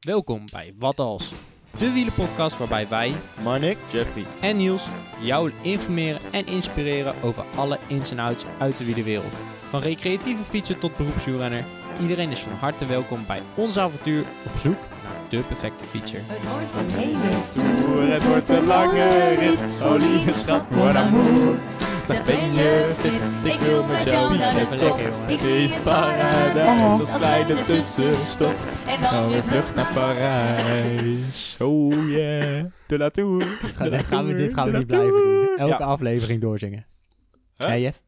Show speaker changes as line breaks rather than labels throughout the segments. Welkom bij Wat Als, de wielenpodcast waarbij wij
Marnik?
Jeffrey.
en Niels jou informeren en inspireren over alle ins en outs uit de wielerwereld. Van recreatieve fietsen tot beroepswielrenner, iedereen is van harte welkom bij ons avontuur op zoek naar de perfecte fietser.
Het wordt een hele
Toer,
toer, het wordt een lange rit. Oh lieve schat, mon amour. Zeg ben je fit, ik wil met jou naar de top. Ik zie het paradijs als kleine tussenstop. En dan weer vlucht naar
Parijs. Oh yeah. De La Tour.
Dit gaan,
De
dit gaan we, dit
Tour,
gaan we
de
niet
La
blijven doen.
Tour.
Elke
Ja.
aflevering doorzingen.
Hè?
Hè, Jeff?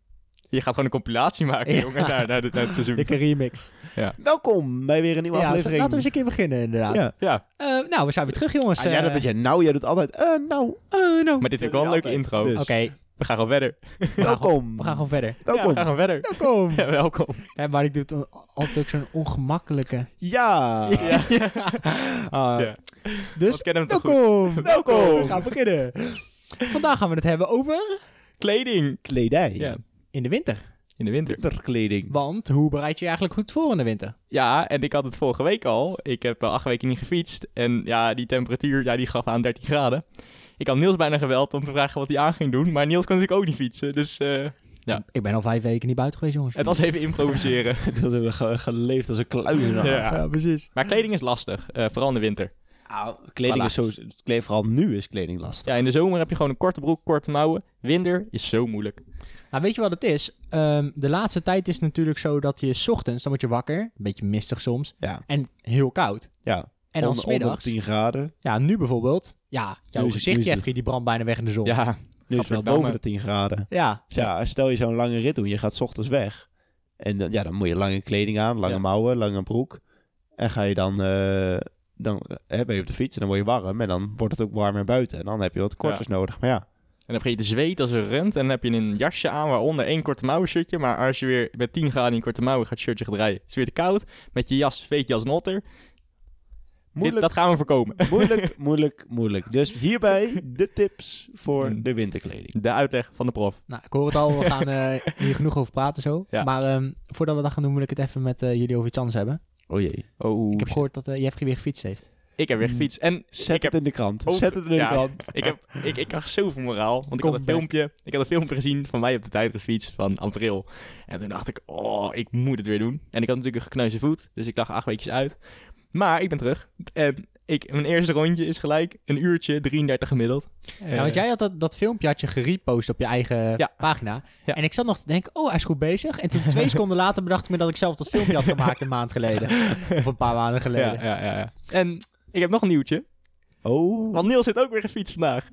Je gaat gewoon een compilatie maken,
Ja.
jongen, naar, naar, dit- naar het seizoen.
Dikke remix.
Welkom bij weer een nieuwe
Ja, laten
aflevering.
we eens een keer beginnen inderdaad.
Ja.
Ja,
Eh, nou, we zijn weer terug jongens.
Ah, jij dat
Eh,
met je nou, jij doet altijd eh nou, eh nou.
maar dit is ook wel een leuke intro.
Dus.
Oké,
We gaan gewoon verder.
Welkom.
we gaan gewoon verder.
Ja, we
Welkom.
gaan gewoon verder.
Welkom.
Ja, welkom.
Hè, maar ik doe het al- altijd ook zo'n ongemakkelijke.
Ja.
Ja,
Ah,
Ja.
Dus,
wat kennen we toch goed.
welkom.
Welkom.
We gaan beginnen. Vandaag gaan we het hebben over
Kleding.
Kledij.
Ja,
in de winter.
in de winter.
Winterkleding.
Want hoe bereid je je eigenlijk goed voor in de winter?
Ja, en ik had het vorige week al. Ik heb eh, acht weken niet gefietst. En ja, die temperatuur, ja, die gaf aan 13 graden. Ik had Niels bijna geweld om te vragen wat hij aan ging doen. Maar Niels kon natuurlijk ook niet fietsen. Dus eh, Ja.
Ik ben al vijf weken niet buiten geweest jongens.
het was even improviseren.
Dat hebben we ge- geleefd als een kluizenaar.
Ja. Ja,
precies.
maar kleding is lastig, eh, vooral in de winter.
Nou,
kleding
Voilà.
is zo, kleding, vooral nu is kleding lastig.
Ja, in de zomer heb je gewoon een korte broek, korte mouwen. Winter is zo moeilijk.
Nou, weet je wat het is? Ehm, de laatste tijd is het natuurlijk zo dat je 's ochtends, dan word je wakker, een beetje mistig soms,
Ja.
en heel koud.
Ja.
En dan
Onder- onder
smiddags,
10 graden.
ja, nu bijvoorbeeld, ja, jouw
Nu is het- nu
gezicht,
is het-
Jeffrey, die brandt bijna weg in de zon. Ja,
Ja,
Nu is het wel
Gadverdamme.
boven de 10 graden.
ja,
Dus ja, stel je zo'n lange rit doen, je gaat 's ochtends weg. En dan, ja, dan moet je lange kleding aan, lange
Ja.
mouwen, lange broek. En ga je dan, eh, dan eh, ben je op de fiets en dan word je warm. En dan wordt het ook warmer buiten. En dan heb je wat korters nodig. Maar ja,
en dan begin je te zweten als een rund. En dan heb je een jasje aan waaronder één korte mouwen shirtje. Maar als je weer met 10 graden in een korte mouwen gaat het shirtje gedraaien. Het is weer te koud. Met je jas zweet je als een otter. Dit-
moeilijk,
dat gaan we voorkomen.
moeilijk, moeilijk, moeilijk. Dus hierbij de tips voor
Hmm.
de winterkleding.
De uitleg van de prof.
nou, ik hoor het al, we gaan eh, hier genoeg over praten zo.
Ja.
Maar ehm, voordat we dat gaan doen, wil ik het even met eh, jullie over iets anders hebben.
Oh jee.
Oh,
Ik heb gehoord dat eh, Jeffrey weer gefietst heeft.
ik heb weer gefietst. En
Zet het
ik heb,
in de krant.
ook-
Zet het in de
ja.
krant.
ik, heb, ik, ik zoveel moraal. Want ik had, een
Comeback.
filmpje, ik had een filmpje gezien van mij op de tijdritfiets van april. En toen dacht ik, oh, ik moet het weer doen. En ik had natuurlijk een gekneusde voet. Dus ik lag acht weekjes uit. Maar ik ben terug. En ik, mijn eerste rondje is gelijk een uurtje, 33 gemiddeld. Eh,
ja, want jij had dat, dat filmpje had je gerepost op je eigen
Ja.
pagina.
Ja.
En ik zat nog te denken, oh, hij is goed bezig. En toen twee seconden later bedacht ik me dat ik zelf dat filmpje had gemaakt een maand geleden. Of een paar maanden geleden.
ja, ja, ja, ja. En ik heb nog een nieuwtje.
Oh.
Want Niels heeft ook weer gefietst vandaag.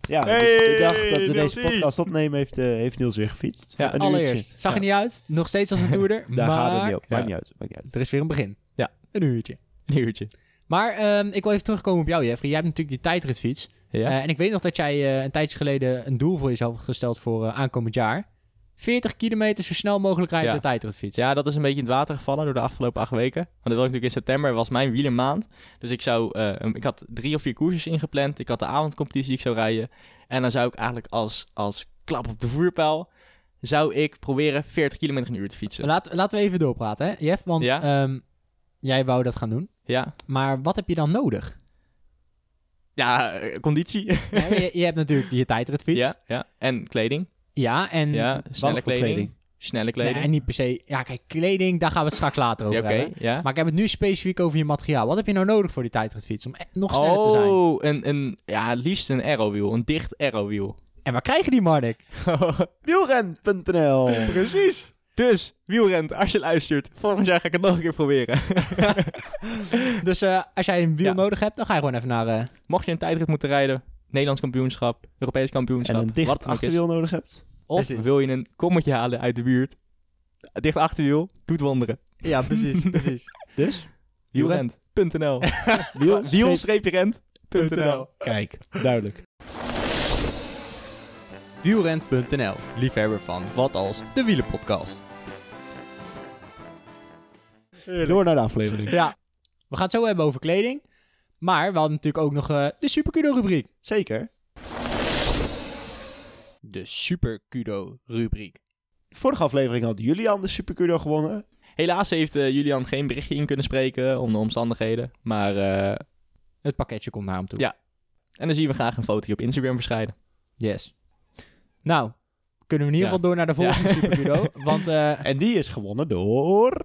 Ja, dus
Hey,
ik dacht dat we
Nielsie.
deze podcast opnemen heeft, eh, heeft Niels weer gefietst.
Ja,
Een uurtje.
Allereerst. Zag er niet uit. Nog steeds als een toerder.
Daar
maar
gaat het niet op. Maakt
Ja.
niet uit. Maakt niet uit.
er is weer een begin.
Ja.
Een uurtje.
Een uurtje.
Maar ehm, ik wil even terugkomen op jou, Jeffrey. Jij hebt natuurlijk die tijdritfiets.
Ja.
Eh, en ik weet nog dat jij eh, een tijdje geleden een doel voor jezelf had gesteld voor eh, aankomend jaar. 40 kilometer zo snel mogelijk rijden
Ja.
op de tijdritfiets.
Dus Ja, dat is een beetje in het water gevallen door de afgelopen acht weken. Want dat was natuurlijk in september, was mijn wielermaand. Dus ik, zou, eh, ik had drie of vier koersjes ingepland. Ik had de avondcompetitie die ik zou rijden. En dan zou ik eigenlijk als, als klap op de voerpijl... zou ik proberen 40 kilometer een uur te fietsen.
Laat, laten we even doorpraten, hè, Jeff. Want
Ja.
ehm, jij wou dat gaan doen.
Ja,
Maar wat heb je dan nodig?
ja eh, conditie.
Ja, je, je hebt natuurlijk je tijdritfiets.
Ja, ja, en kleding.
Ja, en...
Ja, snelle
voor
Mm. kleding.
kleding?
Snelle
Nee,
kleding.
en niet per se... Ja, kijk, kleding, daar gaan we het straks later over
Ja, Oké,
hebben.
ja.
Maar ik heb het nu specifiek over je materiaal. Wat heb je nou nodig voor die tijdritfiets om e- nog sneller te zijn?
Oh, een, een, ja, het liefst een aerowiel. Een dicht aerowiel.
En waar krijg je die, Marnik?
Wielren.nl.
Precies. Dus, wielrent, als je luistert, volgend jaar ga ik het nog een keer proberen.
Dus eh, als jij een wiel
Ja.
nodig hebt, dan ga je gewoon even naar... eh,
Mocht je een tijdrit moeten rijden, Nederlands kampioenschap, Europees kampioenschap,
En een
wat
dicht
het ook is.
achterwiel nodig hebt.
Of
Precies.
wil je een kommetje halen uit de buurt, dicht achterwiel, doet wonderen.
Ja, precies, precies.
Dus
Wielrent.nl
wiel,
Wiel-rent.nl
Kijk, duidelijk.
Wielrent.nl, liefhebber van Wat Als, de wielenpodcast.
Door naar de aflevering.
Ja. We gaan het zo hebben over kleding. Maar we hadden natuurlijk ook nog eh, de Superkudo-rubriek.
Zeker.
De Superkudo-rubriek.
Vorige aflevering had Julian de Supercudo gewonnen.
Helaas heeft eh, Julian geen berichtje in kunnen spreken om de omstandigheden. Maar eh,
Het pakketje komt naar hem toe.
Ja. en dan zien we graag een foto op Instagram verschijnen.
Yes. Nou, kunnen we in ieder
Ja.
geval door naar de volgende
Ja.
Superjudo. Want, eh,
En die is gewonnen door...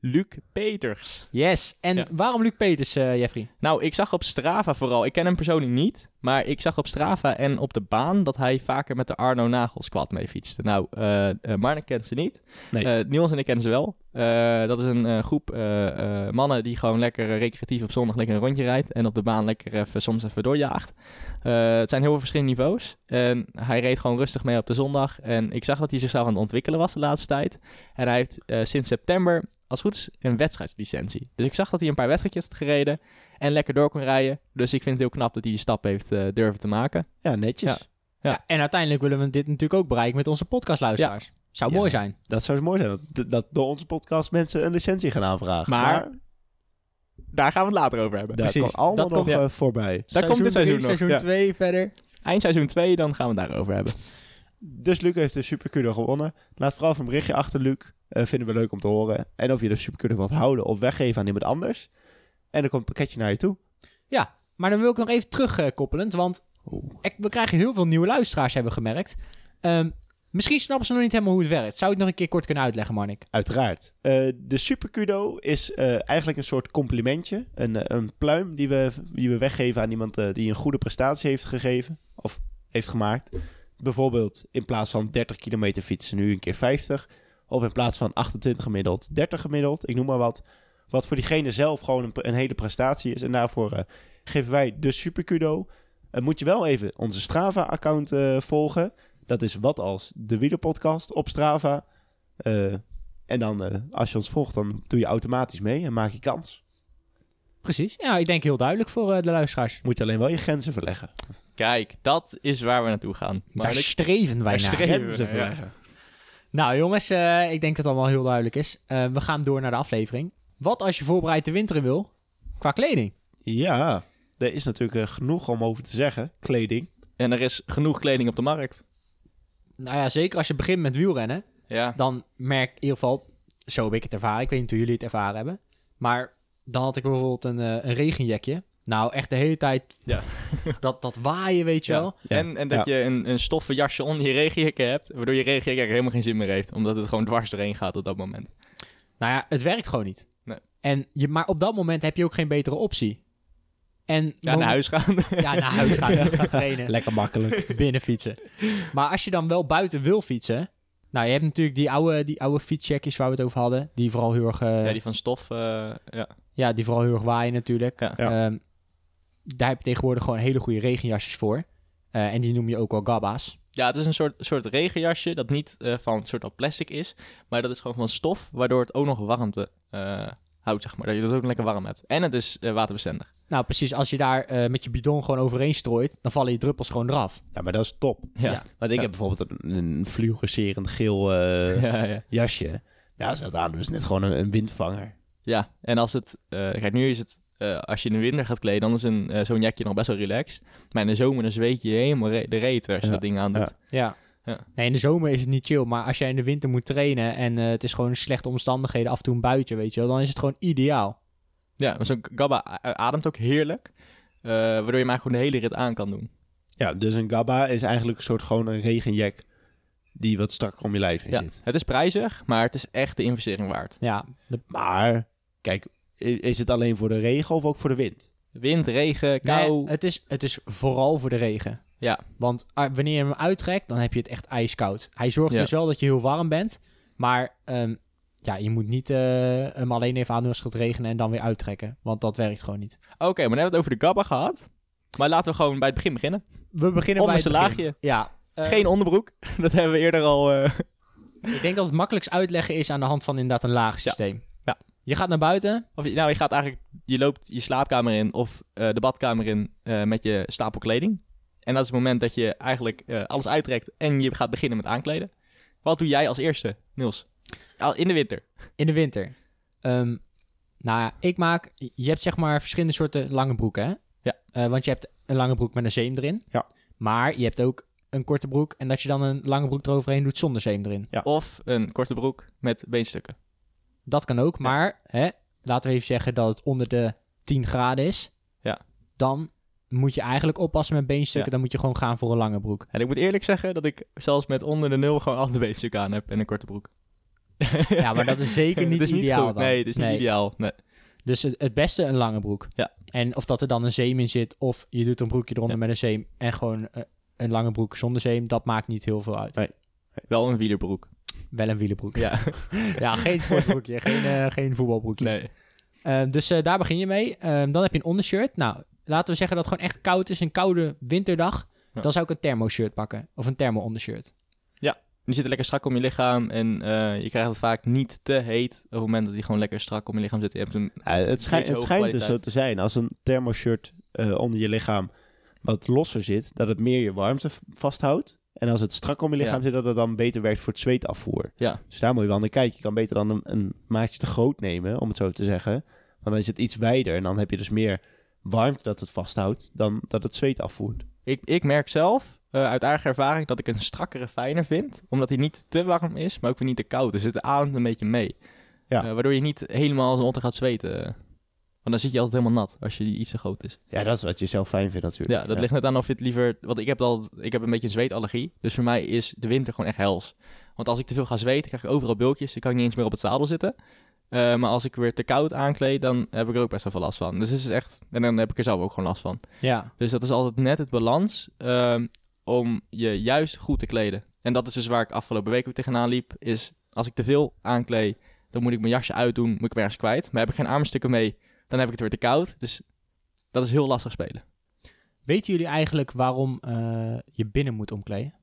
Luc Peters.
yes. En
Ja.
waarom Luc Peters, eh, Jeffrey?
Nou, ik zag op Strava vooral, ik ken hem persoonlijk niet, maar ik zag op Strava en op de baan dat hij vaker met de Arno Nagel squad mee fietste. Nou, eh eh, Marne kent ze niet,
Nee.
Eh, Niels en ik kennen ze wel. Eh, dat is een eh, groep eh, eh, mannen die gewoon lekker eh, recreatief op zondag lekker een rondje rijdt en op de baan lekker even, soms even doorjaagt. Eh, het zijn heel veel verschillende niveaus en hij reed gewoon rustig mee op de zondag en ik zag dat hij zichzelf aan het ontwikkelen was de laatste tijd. En hij heeft eh, sinds september, als het goed is, een wedstrijdslicentie. Dus ik zag dat hij een paar wedstrijdjes had gereden en lekker door kon rijden. Dus ik vind het heel knap dat hij die stap heeft eh, durven te maken.
Ja, netjes.
Ja.
en uiteindelijk willen we dit natuurlijk ook bereiken met onze podcastluisteraars. Zou
Ja.
mooi zijn.
Dat zou eens mooi zijn. Dat, dat door onze podcast mensen een licentie gaan aanvragen.
Maar- Daar gaan we het later over hebben. Dus
daar
precies.
komt allemaal
Dat
nog
komt-
eh, voorbij.
Daar komt dit seizoen nog.
Seizoen
ja.
2 verder.
Eind seizoen 2, dan gaan we het daarover hebben.
Dus Luc heeft de Supercudo gewonnen. Laat vooral even een berichtje achter, Luc. Eh, vinden we leuk om te horen. En of je de Supercudo wilt houden of weggeven aan iemand anders. En dan komt het pakketje naar je toe.
Maar dan wil ik nog even terugkoppelend, want ik- we krijgen heel veel nieuwe luisteraars, hebben we gemerkt. Ehm, misschien snappen ze nog niet helemaal hoe het werkt. Zou je het nog een keer kort kunnen uitleggen, Marnik?
Uiteraard. Eh, de Supercudo is eh, eigenlijk een soort complimentje. Een, eh, een pluim die we, die we weggeven aan iemand eh, die een goede prestatie heeft gegeven. Of heeft gemaakt. Bijvoorbeeld in plaats van 30 kilometer fietsen nu een keer 50. Of in plaats van 28 gemiddeld, 30 gemiddeld. Ik noem maar wat. Wat voor diegene zelf gewoon een, een hele prestatie is. En daarvoor eh, geven wij de Supercudo. Eh moet je wel even onze Strava-account eh, volgen. Dat is wat als de wielerpodcast op Strava. Eh, en dan, eh, als je ons volgt, dan doe je automatisch mee en maak je kans.
Precies. Ja, ik denk heel duidelijk voor eh, de luisteraars.
Moet je alleen wel je grenzen verleggen.
Kijk, dat is waar we naartoe gaan. Maar
Daar streven wij
daar
naar.
streven we
Grenzen
naar, ja.
verleggen.
Nou jongens, eh, ik denk dat het allemaal heel duidelijk is. Eh, we gaan door naar de aflevering. Wat als je voorbereid de winter in wil? Qua kleding.
Ja, er is natuurlijk eh, genoeg om over te zeggen. Kleding.
En er is genoeg kleding op de markt.
Nou ja, zeker als je begint met wielrennen.
Ja.
Dan merk ik in ieder geval, zo heb ik het ervaren. Ik weet niet hoe jullie het ervaren hebben. Maar dan had ik bijvoorbeeld een, eh, een regenjekje. Nou, echt de hele tijd
Ja.
dat, dat waaien, weet je
Ja.
wel.
En, en dat je een, een stoffen jasje onder je regenjacken hebt, waardoor je regenjack er helemaal geen zin meer heeft, omdat het gewoon dwars doorheen gaat op dat moment.
Nou ja, het werkt gewoon niet.
Nee.
En je, maar op dat moment heb je ook geen betere optie. En
Ja, naar huis gaan.
Ja, naar huis gaan, niet gaan trainen.
Lekker makkelijk.
binnen fietsen. Maar als je dan wel buiten wil fietsen. Nou, je hebt natuurlijk die oude, die oude fietsjackjes waar we het over hadden. Die vooral heel erg, eh,
ja,
die...
die van stof, eh, ja.
vooral heel erg waaien natuurlijk.
Ja.
Ja.
Ehm, daar heb je tegenwoordig gewoon hele goede regenjasjes voor. Eh, en die noem je ook wel gabba's.
Ja, het is een soort, soort regenjasje dat niet eh, van een soort al plastic is, maar dat is gewoon van stof, waardoor het ook nog warmte eh, houdt, zeg maar. Dat je het ook lekker warm hebt. En het is eh, waterbestendig.
Nou, precies. Als je daar eh, met je bidon gewoon overheen strooit, dan vallen je druppels gewoon eraf.
Ja, maar dat is top.
Ja.
Ja.
Want ik
Ja.
heb bijvoorbeeld een, een fluorescerend geel eh,
ja, ja.
jasje. Ja, als dat aan, dus net gewoon een, een windvanger.
Ja, en als het... eh, kijk, nu is het... eh, als je in de winter gaat kleden, dan is een, eh, zo'n jakje nog best wel relaxed. Maar in de zomer, dan zweet je helemaal re- de reet als je
Ja,
dat ding aan doet.
Ja.
Ja.
Nee, in de zomer is het niet chill. Maar als jij in de winter moet trainen en eh, het is gewoon slechte omstandigheden, af en toe een buitje, weet je wel. Dan is het gewoon ideaal.
Ja, maar zo'n gabba a- ademt ook heerlijk. eh, waardoor je hem eigenlijk gewoon de hele rit aan kan doen.
Ja, dus een gabba is eigenlijk een soort gewoon een regenjack die wat strakker om je lijf heen
Ja.
zit.
Het is prijzig, maar het is echt de investering waard.
Ja, de
Maar, kijk, i- is het alleen voor de regen of ook voor de wind?
Wind, regen,
Nee,
kou.
het, is, het is vooral voor de regen.
Nou, Ja.
Want ah, wanneer je hem uittrekt, dan heb je het echt ijskoud. Hij zorgt
Ja.
dus wel dat je heel warm bent. Maar ehm, ja, je moet niet eh, hem alleen even aandoen als het gaat regenen en dan weer uittrekken. Want dat werkt gewoon niet.
Oké, maar dan hebben we het over de gabba gehad. Maar laten we gewoon bij het begin beginnen.
We beginnen bij
Onderste
het begin.
laagje.
Ja. eh,
Geen onderbroek. Dat hebben we eerder al... eh,
ik denk dat het makkelijkst uitleggen is aan de hand van inderdaad een laagsysteem.
Ja.
Je gaat naar buiten.
Of je, nou, je gaat eigenlijk... Je loopt je slaapkamer in of eh, de badkamer in eh, met je stapel kleding. En dat is het moment dat je eigenlijk eh, alles uittrekt en je gaat beginnen met aankleden. Wat doe jij als eerste, Niels? Al in de winter.
In de winter. Ehm, nou ja, ik maak... Je hebt zeg maar verschillende soorten lange broeken, hè?
Ja.
Eh, want je hebt een lange broek met een zeem erin.
Ja.
Maar je hebt ook een korte broek en dat je dan een lange broek eroverheen doet zonder zeem erin.
Ja.
Of een korte broek met beenstukken.
Dat kan ook, maar hè, laten we even zeggen dat het onder de 10 graden is.
Ja.
Dan moet je eigenlijk oppassen met beenstukken.
Ja.
Dan moet je gewoon gaan voor een lange broek.
En ik moet eerlijk zeggen dat ik zelfs met onder de nul gewoon altijd een beetje aan heb en een korte broek.
Ja, maar dat is zeker niet
Het is
ideaal
goed.
dan.
Nee, het is niet
Nee.
ideaal. Nee.
Dus het, het beste een lange broek.
Ja.
En of dat er dan een zeem in zit, of je doet een broekje eronder met een zeem en gewoon eh, een lange broek zonder zeem, dat maakt niet heel veel uit.
Nee.
Wel een wielerbroek.
Wel een wielenbroek.
Ja.
ja, geen sportbroekje, geen, eh, geen voetbalbroekje.
Nee.
Eh, dus eh, daar begin je mee. Ehm, dan heb je een ondershirt. Nou, laten we zeggen dat het gewoon echt koud is, een koude winterdag.
Ja.
Dan zou ik een thermoshirt pakken, of een thermo-ondershirt.
Die zitten lekker strak om je lichaam en eh, je krijgt het vaak niet te heet op het moment dat die gewoon lekker strak om je lichaam zit. Je hebt hem
Ja, het, schij-
Beetje
het schijnt dus zo
hoogkwaliteit.
te zijn. Als een thermoshirt eh, onder je lichaam wat losser zit, dat het meer je warmte v- vasthoudt. En als het strak om je lichaam
Ja.
zit, dat het dan beter werkt voor het zweetafvoer.
Ja.
Dus daar moet je wel naar kijken. Je kan beter dan een, een maatje te groot nemen, om het zo te zeggen. Want dan is het iets wijder en dan heb je dus meer warmte dat het vasthoudt dan dat het zweet afvoert.
Ik, ik merk zelf eh, uit eigen ervaring dat ik een strakkere fijner vind. Omdat hij niet te warm is, maar ook weer niet te koud. Dus het ademt een beetje mee.
Ja.
Eh, waardoor je niet helemaal als een otter gaat zweten. Want dan zit je altijd helemaal nat als je die iets te groot is.
Ja, dat is wat je zelf fijn vindt natuurlijk.
Ja, dat ligt net aan of je het liever... Want ik heb, al, ik heb een beetje een zweetallergie. Dus voor mij is de winter gewoon echt hels. Want als ik te veel ga zweten, krijg ik overal bultjes. Dan kan ik niet eens meer op het zadel zitten. Eh, maar als ik weer te koud aankleed, dan heb ik er ook best wel veel last van. Dus het is echt... En dan heb ik er zelf ook gewoon last van.
Ja.
Dus dat is altijd net het balans ehm, om je juist goed te kleden. En dat is dus waar ik afgelopen week ook tegenaan liep. Is als ik te veel aankleed, dan moet ik mijn jasje uitdoen, moet ik me ergens kwijt. Maar heb ik geen armstukken mee, dan heb ik het weer te koud. Dus dat is heel lastig spelen.
Weten jullie eigenlijk waarom eh, je binnen moet omkleden?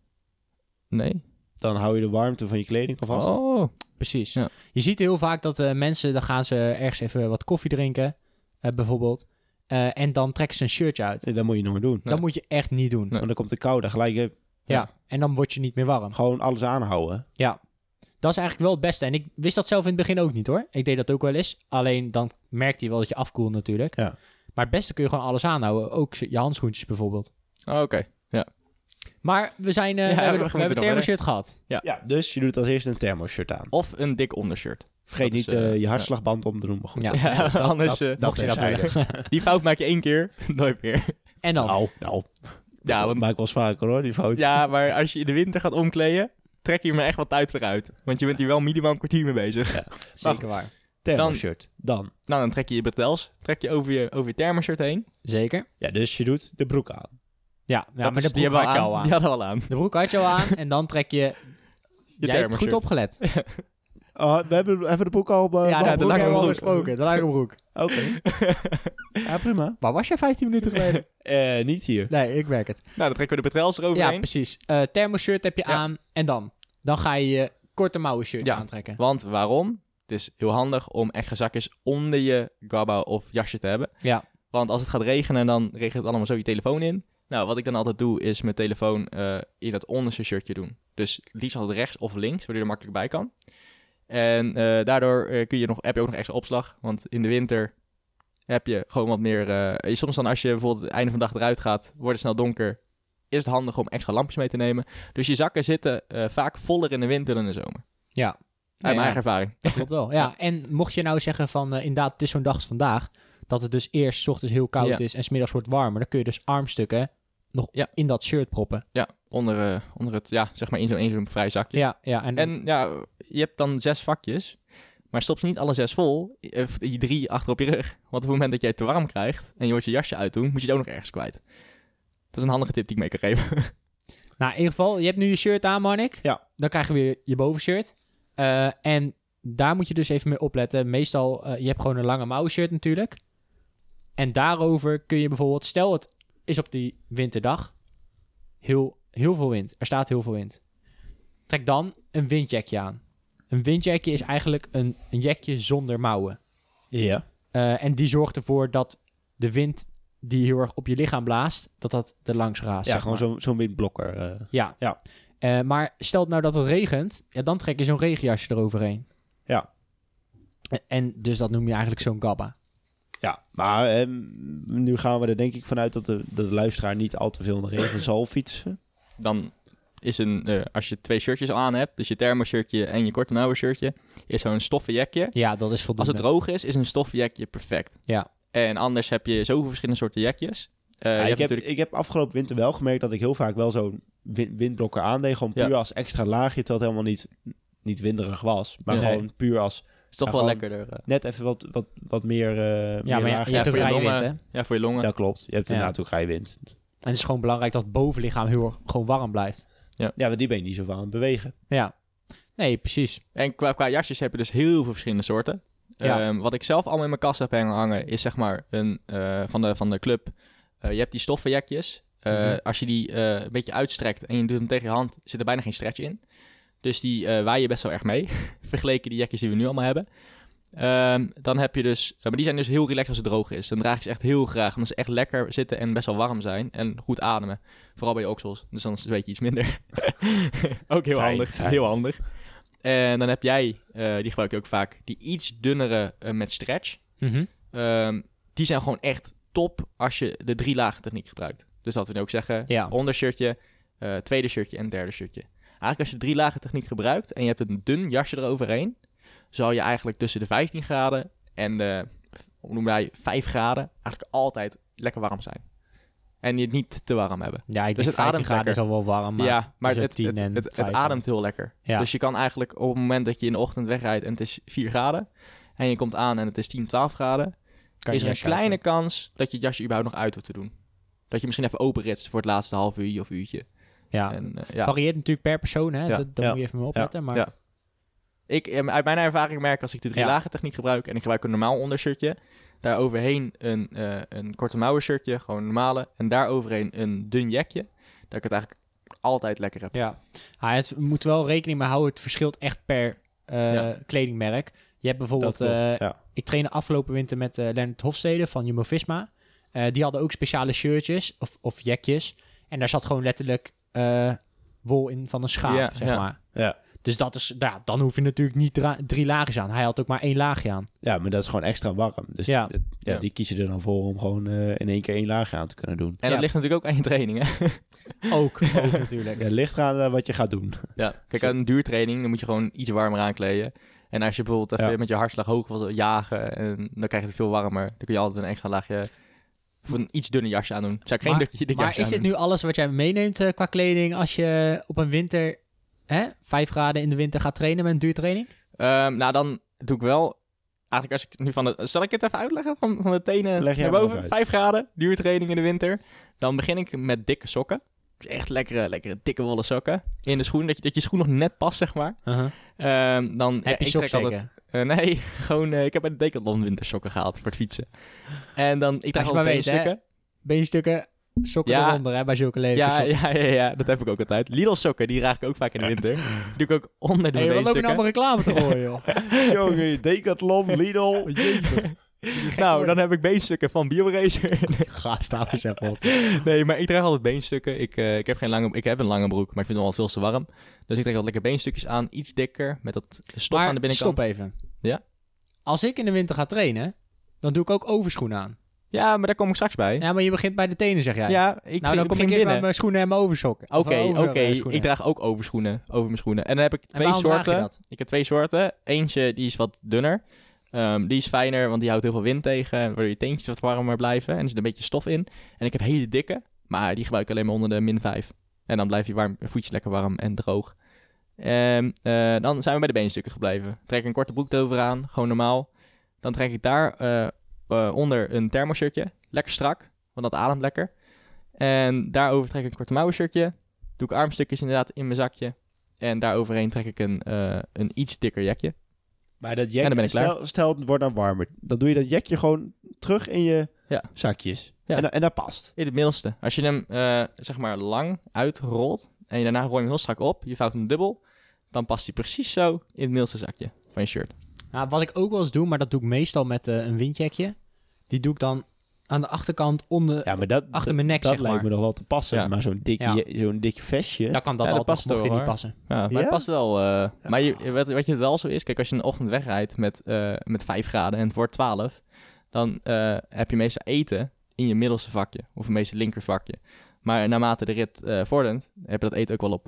Nee.
Dan hou je de warmte van je kleding al vast.
Oh.
Precies.
Ja.
Je ziet heel vaak dat eh, mensen, dan gaan ze ergens even wat koffie drinken, eh, bijvoorbeeld. Eh, en dan trekken ze een shirtje uit.
Nee, Dat moet je nooit doen.
Dat moet je echt niet doen.
Nee.
Want dan komt de koude gelijk. eh,
Ja.
Ja.
En dan word je niet meer warm.
Gewoon alles aanhouden.
Dat is eigenlijk wel het beste. En ik wist dat zelf in het begin ook niet hoor. Ik deed dat ook wel eens. Alleen dan merkte je wel dat je afkoelt natuurlijk.
Ja.
Maar het beste kun je gewoon alles aanhouden. Ook je handschoentjes bijvoorbeeld.
Oh, Oké.
Maar we, zijn, eh,
Ja,
we hebben,
we
we
moeten
hebben een
nog
thermoshirt gehad.
Ja, dus je doet als eerst een thermoshirt aan.
Of een dik ondershirt.
Vergeet
Dat is,
niet eh, Dus,
eh,
je hartslagband om te doen, maar goed.
Ja.
Ja, anders... eh,
dat
mocht je dat
terzijde.
Die fout maak je één keer, nooit meer.
En dan.
Oh,
Nou, nou.
Ja, want
maak wel eens vaker hoor, die fout.
ja, maar als je in de winter gaat omkleden, trek je me echt wat tijd weer uit. Want je bent hier wel minimaal een kwartier mee bezig.
zeker waar.
Thermoshirt. Dan.
Nou, dan trek je je bretels, trek je over je, over je thermoshirt heen.
Zeker.
Ja, dus je doet de broek aan.
Ja, ja
Dat
maar
is-
de
die
broek
hebben we
had je al aan.
Die hadden we al aan.
De broek had je al aan. En dan trek je...
Je
Jij hebt goed
thermoshirt.
opgelet.
Oh, we hebben, hebben we de broek al... eh,
ja,
behandeld?
de broek
lange
hebben we al
broek.
besproken. De lange broek.
Oké. Ja, prima.
Waar was je 15 minuten geleden?
Eh, niet hier.
Nee, ik merk het.
Nou, dan trekken we de bretels
Ja,
eroverheen.
precies. Eh thermoshirt heb je
Ja.
aan. En dan? Dan ga je je korte mouwen shirtje
Ja.
aantrekken.
Want waarom? Het is heel handig om extra zakjes onder je gabba of jasje te hebben.
Ja.
Want als het gaat regenen, dan regent het allemaal zo je telefoon in. Nou, wat ik dan altijd doe, is mijn telefoon eh, in dat onderste shirtje doen. Dus het liefst altijd rechts of links, waardoor je er makkelijk bij kan. En eh, daardoor eh, kun je nog, heb je ook nog extra opslag. Want in de winter heb je gewoon wat meer... eh, je- soms dan als je bijvoorbeeld het einde van de dag eruit gaat, wordt het snel donker. Is het handig om extra lampjes mee te nemen. Dus je zakken zitten eh, vaak voller in de winter dan in de zomer.
Ja. Nou
Uit mijn
Ja,
eigen ervaring.
Dat klopt wel. Ja, en mocht je nou zeggen van eh, inderdaad, het is zo'n dag als vandaag, dat het dus eerst 's ochtends heel koud
Ja.
is en 's middags wordt warmer, dan kun je dus armstukken nog
Ja.
in dat shirt proppen.
Ja, onder, eh, onder het, ja, zeg maar in zo'n in zo'n vrij zakje.
Ja, ja. En,
En ja, je hebt dan zes vakjes, maar stop ze niet alle zes vol, eh, of die drie achter op je rug. Want op het moment dat jij het te warm krijgt en je wordt je jasje uitdoen, moet je het ook nog ergens kwijt. Dat is een handige tip die ik mee kan geven.
nou, in ieder geval, je hebt nu je shirt aan, Marnik.
Ja.
Dan krijg je weer je bovenshirt. Eh, en daar moet je dus even mee opletten. Meestal, eh, je hebt gewoon een lange mouwen shirt natuurlijk. En daarover kun je bijvoorbeeld, stel het is op die winterdag, heel, heel veel wind. Er staat heel veel wind. Trek dan een windjackje aan. Een windjackje is eigenlijk een, een jackje zonder mouwen.
Ja.
Eh, en die zorgt ervoor dat de wind die heel erg op je lichaam blaast, dat dat er langs raast.
Ja,
zeg
gewoon
maar.
zo'n zo'n windblokker. eh.
Ja.
Ja.
Eh, maar stel nou dat het regent, ja, dan trek je zo'n regenjasje eroverheen.
Ja.
Eh, En dus dat noem je eigenlijk zo'n gabba.
Ja, maar ehm, nu gaan we er denk ik vanuit dat de, dat de luisteraar niet al te veel in de regen zal fietsen.
Dan is een, eh, als je twee shirtjes aan hebt, dus je thermoshirtje en je korte mouwen shirtje, is zo'n stoffen jekje.
Ja, dat is
Als
voldoende.
het droog is, is een stoffen jekje perfect.
Ja.
En anders heb je zoveel verschillende soorten jekjes. Eh, je
Ja,
hebt
ik, heb,
natuurlijk...
ik heb afgelopen winter wel gemerkt dat ik heel vaak wel zo'n win- windblokker aandeed. Gewoon
Ja.
puur als extra laagje, terwijl het helemaal niet, niet winderig was. Maar
Nee.
gewoon puur als
is toch
ja,
wel
gewoon-
lekkerder. eh,
net even wat, wat, wat meer, eh
ja, maar ja, je hebt
Ja,
een
voor je
vrijwind, hè.
longen.
En
ja, voor je longen.
Dat klopt. Je hebt
Ja.
inderdaad ook ga je wind.
het is gewoon belangrijk dat het bovenlichaam heel erg gewoon warm blijft.
Ja, maar die ben je niet zo van aan het bewegen.
Ja. Nee, precies.
En qua, qua jasjes heb je dus heel veel verschillende soorten.
Ja.
Ehm, wat ik zelf allemaal in mijn kast heb hangen- hangen, is zeg maar een, eh, van, de, van de club. Eh, je hebt die stoffenjakjes. Eh,
Mhm.
Als je die eh, een beetje uitstrekt en je doet hem tegen je hand, zit er bijna geen stretch in. Dus die eh waaien best wel erg mee. Vergeleken die jakjes die we nu allemaal hebben. Ehm, dan heb je dus, eh, maar die zijn dus heel relaxed als het droog is. Dan draag ik ze echt heel graag, omdat ze echt lekker zitten en best wel warm zijn. En goed ademen. Vooral bij je oksels, dus dan is het een beetje iets minder. Ook heel
Fijn,
handig,
fijn.
heel handig. En dan heb jij, eh, die gebruik je ook vaak, die iets dunnere eh, met stretch.
Mhm.
Ehm, die zijn gewoon echt top als je de drie lagen techniek gebruikt. Dus dat wil ik ook zeggen,
Ja.
ondershirtje, eh, tweede shirtje en derde shirtje. Eigenlijk als je drie lagen techniek gebruikt en je hebt een dun jasje eroverheen, zal je eigenlijk tussen de 15 graden en de, hoe noemen wij, 5 graden eigenlijk altijd lekker warm zijn. En je het niet te warm hebben.
Ja, ik
Dus
denk
het
15
ademt
graden is
lekker.
al wel warm, maar...
ja, maar
tussen
het,
10
het,
en
het, het
15.
ademt heel lekker.
Ja.
Dus je kan eigenlijk op het moment dat je in de ochtend wegrijdt en het is 4 graden en je komt aan en het is 10, 12 graden,
kan
is
je
er een
jasje uit
kleine
doen.
kans dat je het jasje überhaupt nog uit hoeft te doen. Dat je misschien even openritst voor het laatste half uur of uurtje.
Ja.
En, eh, ja.
Varieert natuurlijk per persoon, hè.
Ja.
Dat, daar
Ja.
moet je even mee opletten, maar...
Ja. Ik, eh, uit mijn ervaring merk als ik de drie
Ja.
lagen techniek gebruik en ik gebruik een normaal ondershirtje, daar overheen een, eh, een korte mouwen shirtje, gewoon een normale, en daar overheen een dun jekje, dat ik het eigenlijk altijd lekker heb.
Ja. Ah, het moet wel rekening mee houden. Het verschilt echt per eh,
Ja.
kledingmerk. Je hebt
Dat
bijvoorbeeld...
klopt,
eh,
ja.
ik trainde afgelopen winter met eh Leonard Hofstede van Jumbo-Visma. Eh, die hadden ook speciale shirtjes of, of jekjes. En daar zat gewoon letterlijk eh, wol in van een schaap,
Ja,
zeg
ja.
maar.
Ja.
Dus dat is, ja, dan hoef je natuurlijk niet dra- drie laagjes aan. Hij had ook maar één laagje aan.
ja, maar dat is gewoon extra warm. Dus
Ja.
ja. Ja,
Ja.
die kiezen er dan voor om gewoon eh, in één keer één laagje aan te kunnen doen.
En
Ja.
dat ligt natuurlijk ook aan je training, hè?
Ook, ook natuurlijk.
Ja, het ligt eraan eh, wat je gaat doen.
Ja. Kijk, aan een duurtraining, dan moet je gewoon iets warmer aankleden. En als je bijvoorbeeld even
Ja.
met je hartslag hoog wil jagen, en dan krijg je het veel warmer. Dan kun je altijd een extra laagje voor een iets dunner jasje aandoen. Zou ik geen
Maar-
dik, dik
Maar
jasje
is dit
aandoen.
nu alles wat jij meeneemt eh, qua kleding als je op een winter, hè, vijf graden in de winter gaat trainen met een duurtraining?
Ehm, nou, dan doe ik wel... Eigenlijk als ik nu van de... Zal ik het even uitleggen? Van, van de tenen
Leg jij
naar
maar
boven.
even uit.
5 graden, duurtraining in de winter. Dan begin ik met dikke sokken. Dus echt lekkere, lekkere dikke wollen sokken. In de schoen, dat je, dat je schoen nog net past, zeg maar. Ehm, dan, ja,
Heb je
ik
sok
trek altijd...
zeker?
Eh, nee, gewoon... eh, ik heb bij de Decathlon wintersokken gehaald voor het fietsen. En dan... Ik draag
Als je
altijd
maar weet, hè.
sokken.
Beenstukken, sokken
Ja.
eronder, hè, bij zulke lelijke
Ja,
sokken.
ja, ja, ja, dat heb ik ook altijd. Lidl sokken, die draag ik ook vaak in de winter. Die doe ik ook onder de
Hey, wat loop je nou
beenstukken.
allemaal reclame te gooien, joh?
Jongen, Decathlon, Lidl.
Nou, dan heb ik beenstukken van BioRacer.
Ga, staan eens even op.
Nee, maar ik draag altijd beenstukken. Ik, eh, ik, heb geen lange, ik heb een lange broek, maar ik vind hem al veel te warm. Dus ik draag altijd lekker beenstukjes aan, iets dikker, met dat stof
maar
aan de binnenkant.
stop even.
Ja?
Als ik in de winter ga trainen, dan doe ik ook overschoenen aan.
Ja, maar daar kom ik straks bij. Ja,
Ja, maar je begint bij de tenen, zeg jij.
ik
nou, dan kom ik
begin
eerst bij
binnen.
mijn schoenen en mijn oversokken. Of
Oké,
over-
oké.
eh, schoenen.
Ik draag ook overschoenen over mijn schoenen. En dan heb ik
En
twee
waarom draag je
soorten.
dat?
Ik heb twee soorten. Eentje die is wat dunner. Ehm, die is fijner, want die houdt heel veel wind tegen. Waardoor je teentjes wat warmer blijven. En er zit een beetje stof in. En ik heb hele dikke. Maar die gebruik ik alleen maar onder de min 5. En dan blijf je warm, je voetjes lekker warm en droog. Ehm, eh, dan zijn we bij de beenstukken gebleven. Trek ik een korte broek erover aan. Gewoon normaal. Dan trek ik daar eh, eh, onder een thermoshirtje. Lekker strak, want dat ademt lekker. En daarover trek ik een korte mouwen shirtje. Doe ik armstukjes inderdaad in mijn zakje. En daaroverheen trek ik een, eh, een iets dikker jekje.
Maar dat
En
jekje,
dan ben ik klaar.
Stel, stel het wordt dan warmer. Dan doe je dat jekje gewoon terug in je
Ja.
zakjes.
Ja.
En, da- en dat past.
In het middelste. Als je hem eh, zeg maar lang uitrolt en je daarna rooi je hem heel strak op, je vouwt hem dubbel, dan past hij precies zo in het middelste zakje van je shirt.
Nou, wat ik ook wel eens doe, maar dat doe ik meestal met eh, een windjekje. Die doe ik dan aan de achterkant onder,
Ja, maar dat,
achter mijn nek,
dat
zeg
lijkt
maar.
me nog wel te passen.
Ja.
Maar zo'n dik,
Ja.
je- zo'n dik vestje.
Dan kan dat
Ja, dat
altijd
past
nog, mocht
wel,
dit niet
hoor.
passen.
Ja, maar
Ja?
het past wel. eh, Maar je, wat, wat je wel zo is, kijk, als je in de ochtend wegrijdt met, eh, met 5 graden en het wordt 12, dan eh, heb je meestal eten in je middelste vakje of meestal linker vakje. Maar naarmate de rit eh vordert, heb je dat eten ook wel op.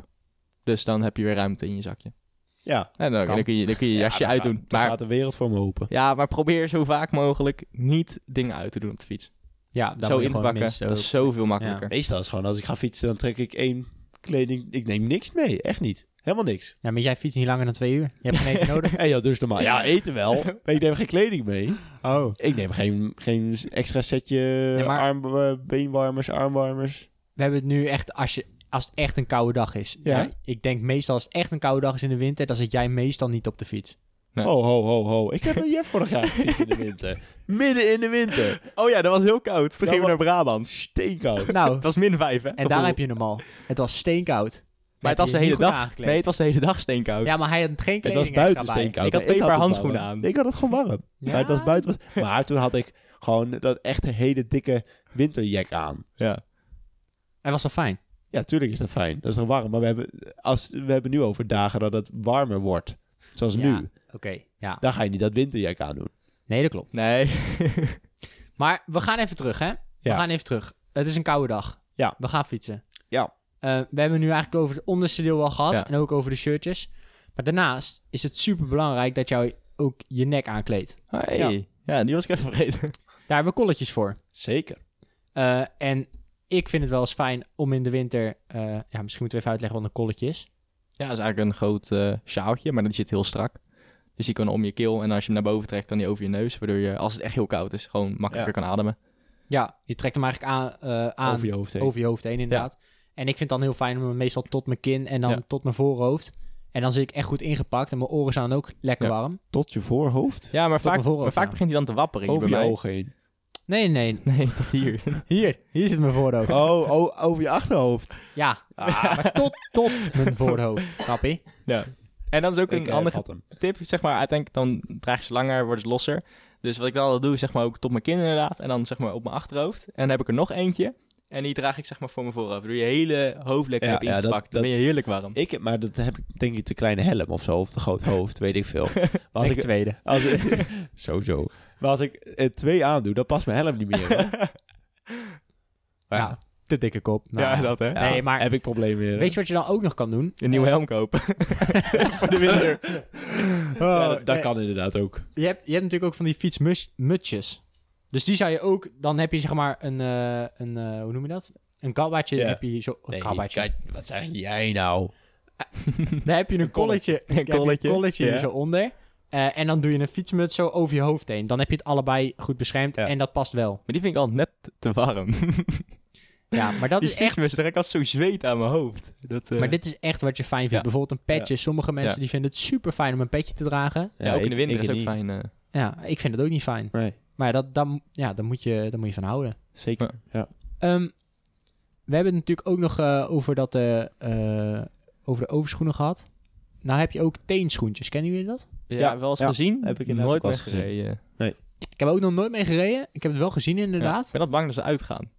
Dus dan heb je weer ruimte in je zakje.
Ja,
En dan,
Kan.
dan kun je dan kun je, je
Ja,
jasje
dan gaat-
uitdoen.
dan
Maar,
gaat de wereld voor me open.
ja, maar probeer zo vaak mogelijk niet dingen uit te doen op de fiets.
Ja, daar moet
zo
je
in te
gewoon
pakken,
minstens
dat
ook-
is zoveel makkelijker.
Meestal is het gewoon als ik ga fietsen, dan trek ik één kleding. Ik neem niks mee, echt niet. Helemaal niks.
Ja, maar jij fietst niet langer dan twee uur. Je hebt geen eten nodig.
En ja, dus normaal. Ja, eten wel. Maar ik neem geen kleding mee.
Oh.
Ik neem geen, geen extra setje
Ja, maar-
arm, eh, beenwarmers, armwarmers.
We hebben het nu echt, als, je, als het echt een koude dag is.
Ja.
Ik denk meestal als het echt een koude dag is in de winter, dan zit jij meestal niet op de fiets.
Ja.
Ho, ho, ho, ho. Ik heb een jef vorig jaar gefietst in de winter. Midden in de winter.
Oh ja, dat was heel koud. Toen
Ja,
gingen we
maar-
naar Brabant.
Steenkoud.
Nou,
Het was min 5, hè?
en daar heb je hem al. Het was steenkoud.
Maar
Heb
het was
je
de
je
hele
niet goed
dag.
aangekleed?
Nee, het was de hele dag steenkoud.
Ja, maar hij had geen
Het
kleding
was buiten
extra bij.
steenkoud.
Ik had twee
het
paar
warm.
handschoenen aan.
Ik had het gewoon warm.
Ja.
Maar het was buiten. wat- Maar toen had ik gewoon dat echte hele dikke winterjack aan.
Ja.
Hij was al fijn.
Ja, tuurlijk is dat fijn. Dat is dan warm. Maar we hebben, als, we hebben nu over dagen dat het warmer wordt. Zoals
Ja.
nu.
Oké, ja.
Dan ga je niet dat winterjack aan doen.
Nee, dat klopt.
Nee.
Maar we gaan even terug, hè? We
Ja.
gaan even terug. Het is een koude dag.
Ja.
We gaan fietsen.
Ja.
Eh, we hebben nu eigenlijk over het onderste deel wel gehad.
Ja.
En ook over de shirtjes. Maar daarnaast is het super belangrijk dat jij ook je nek aankleedt.
Hey. Ja. die was ik even vergeten.
Daar hebben we kolletjes voor.
Zeker.
Eh, en ik vind het wel eens fijn om in de winter... eh, ja, misschien moeten we even uitleggen wat een kolletje is.
Ja, dat is eigenlijk een groot eh sjaaltje, maar die zit heel strak. Dus die kan om je keel en als je hem naar boven trekt, kan die over je neus. Waardoor je, als het echt heel koud is, gewoon makkelijker kan ademen.
Ja, je trekt hem eigenlijk aan, eh, aan
Over je hoofd heen.
over je hoofd heen, inderdaad. En ik vind het dan heel fijn om hem meestal tot mijn kin en dan
Ja.
tot mijn voorhoofd. En dan zit ik echt goed ingepakt en mijn oren zijn dan ook lekker
Ja.
warm.
Tot je voorhoofd.
Ja, maar vaak,
mijn voorhoofd,
maar vaak
ja.
begint hij dan te wapperen hier
Over je
bij mij.
ogen heen.
Nee, nee.
Nee, tot hier.
Hier, hier zit mijn voorhoofd.
Oh, oh, over je achterhoofd.
Ja,
Ah.
maar tot, tot mijn voorhoofd, snappie.
En dat is ook
Ik
een
eh,
handige
vat hem.
tip, zeg maar. Uiteindelijk dan draag je ze langer, worden ze losser. Dus wat ik dan altijd doe, is zeg maar ook tot mijn kin inderdaad. En dan zeg maar op mijn achterhoofd. En dan heb ik er nog eentje. En die draag ik zeg maar voor mijn voorhoofd. Door je hele hoofd lekker
Ja,
hebt
ja, dat-
ingepakt. dan ben je heerlijk warm.
Ik heb, maar dat heb ik denk ik te kleine helm of zo. Of te groot hoofd, weet ik veel. Maar als ik,
tweede.
als ik, sowieso. Maar als ik eh, twee aandoe, dan past mijn helm niet meer. hè?
Ja, te dikke kop. Nou,
ja, dat hè.
Nee, maar-
Heb ik problemen weer. hè?
Weet je wat je dan ook nog kan doen?
Een nieuwe helm kopen. voor de winter.
Ja, Oh, dat, dat
nee.
kan inderdaad ook.
Je hebt, je hebt natuurlijk ook van die fietsmutjes. Dus die zou je ook... Dan heb je zeg maar een... eh, een eh, hoe noem je dat? Een kabbaatje.
Ja.
Heb je zo, een kabbaatje.
Kat, wat zeg jij nou?
Daar heb je een kolletje,
Een
heb je
kolletje,
een kolletje
ja.
hier zo onder. Eh, en dan doe je een fietsmuts zo over je hoofd heen. Dan heb je het allebei goed beschermd
Ja.
en dat past wel.
Maar die vind ik altijd net te warm.
Ja, maar dat
die
is echt...
fietsmuts trek ik altijd zo zweet aan mijn hoofd. Dat, eh,
Maar dit is echt wat je fijn vindt.
Ja.
Bijvoorbeeld een petje. Sommige mensen
Ja.
die vinden het super fijn om een petje te dragen.
ja, ook in de winter is ook fijn. eh.
Ja, ik vind het ook niet fijn.
Nee,
Maar dat, dan, ja, daar, moet je, daar moet je van houden.
zeker.
Ehm, we hebben het natuurlijk ook nog eh, over, dat, eh, eh, over de overschoenen gehad. Nou heb je ook teenschoentjes. Kennen jullie dat?
ja,
Ja,
wel eens
ja.
gezien.
Heb ik inderdaad
nooit
ook wel
meer
eens gezien.
gereden. Ja.
Ik heb er ook nog nooit mee gereden. Ik heb het wel gezien inderdaad.
Ik ben dat bang dat ze uitgaan.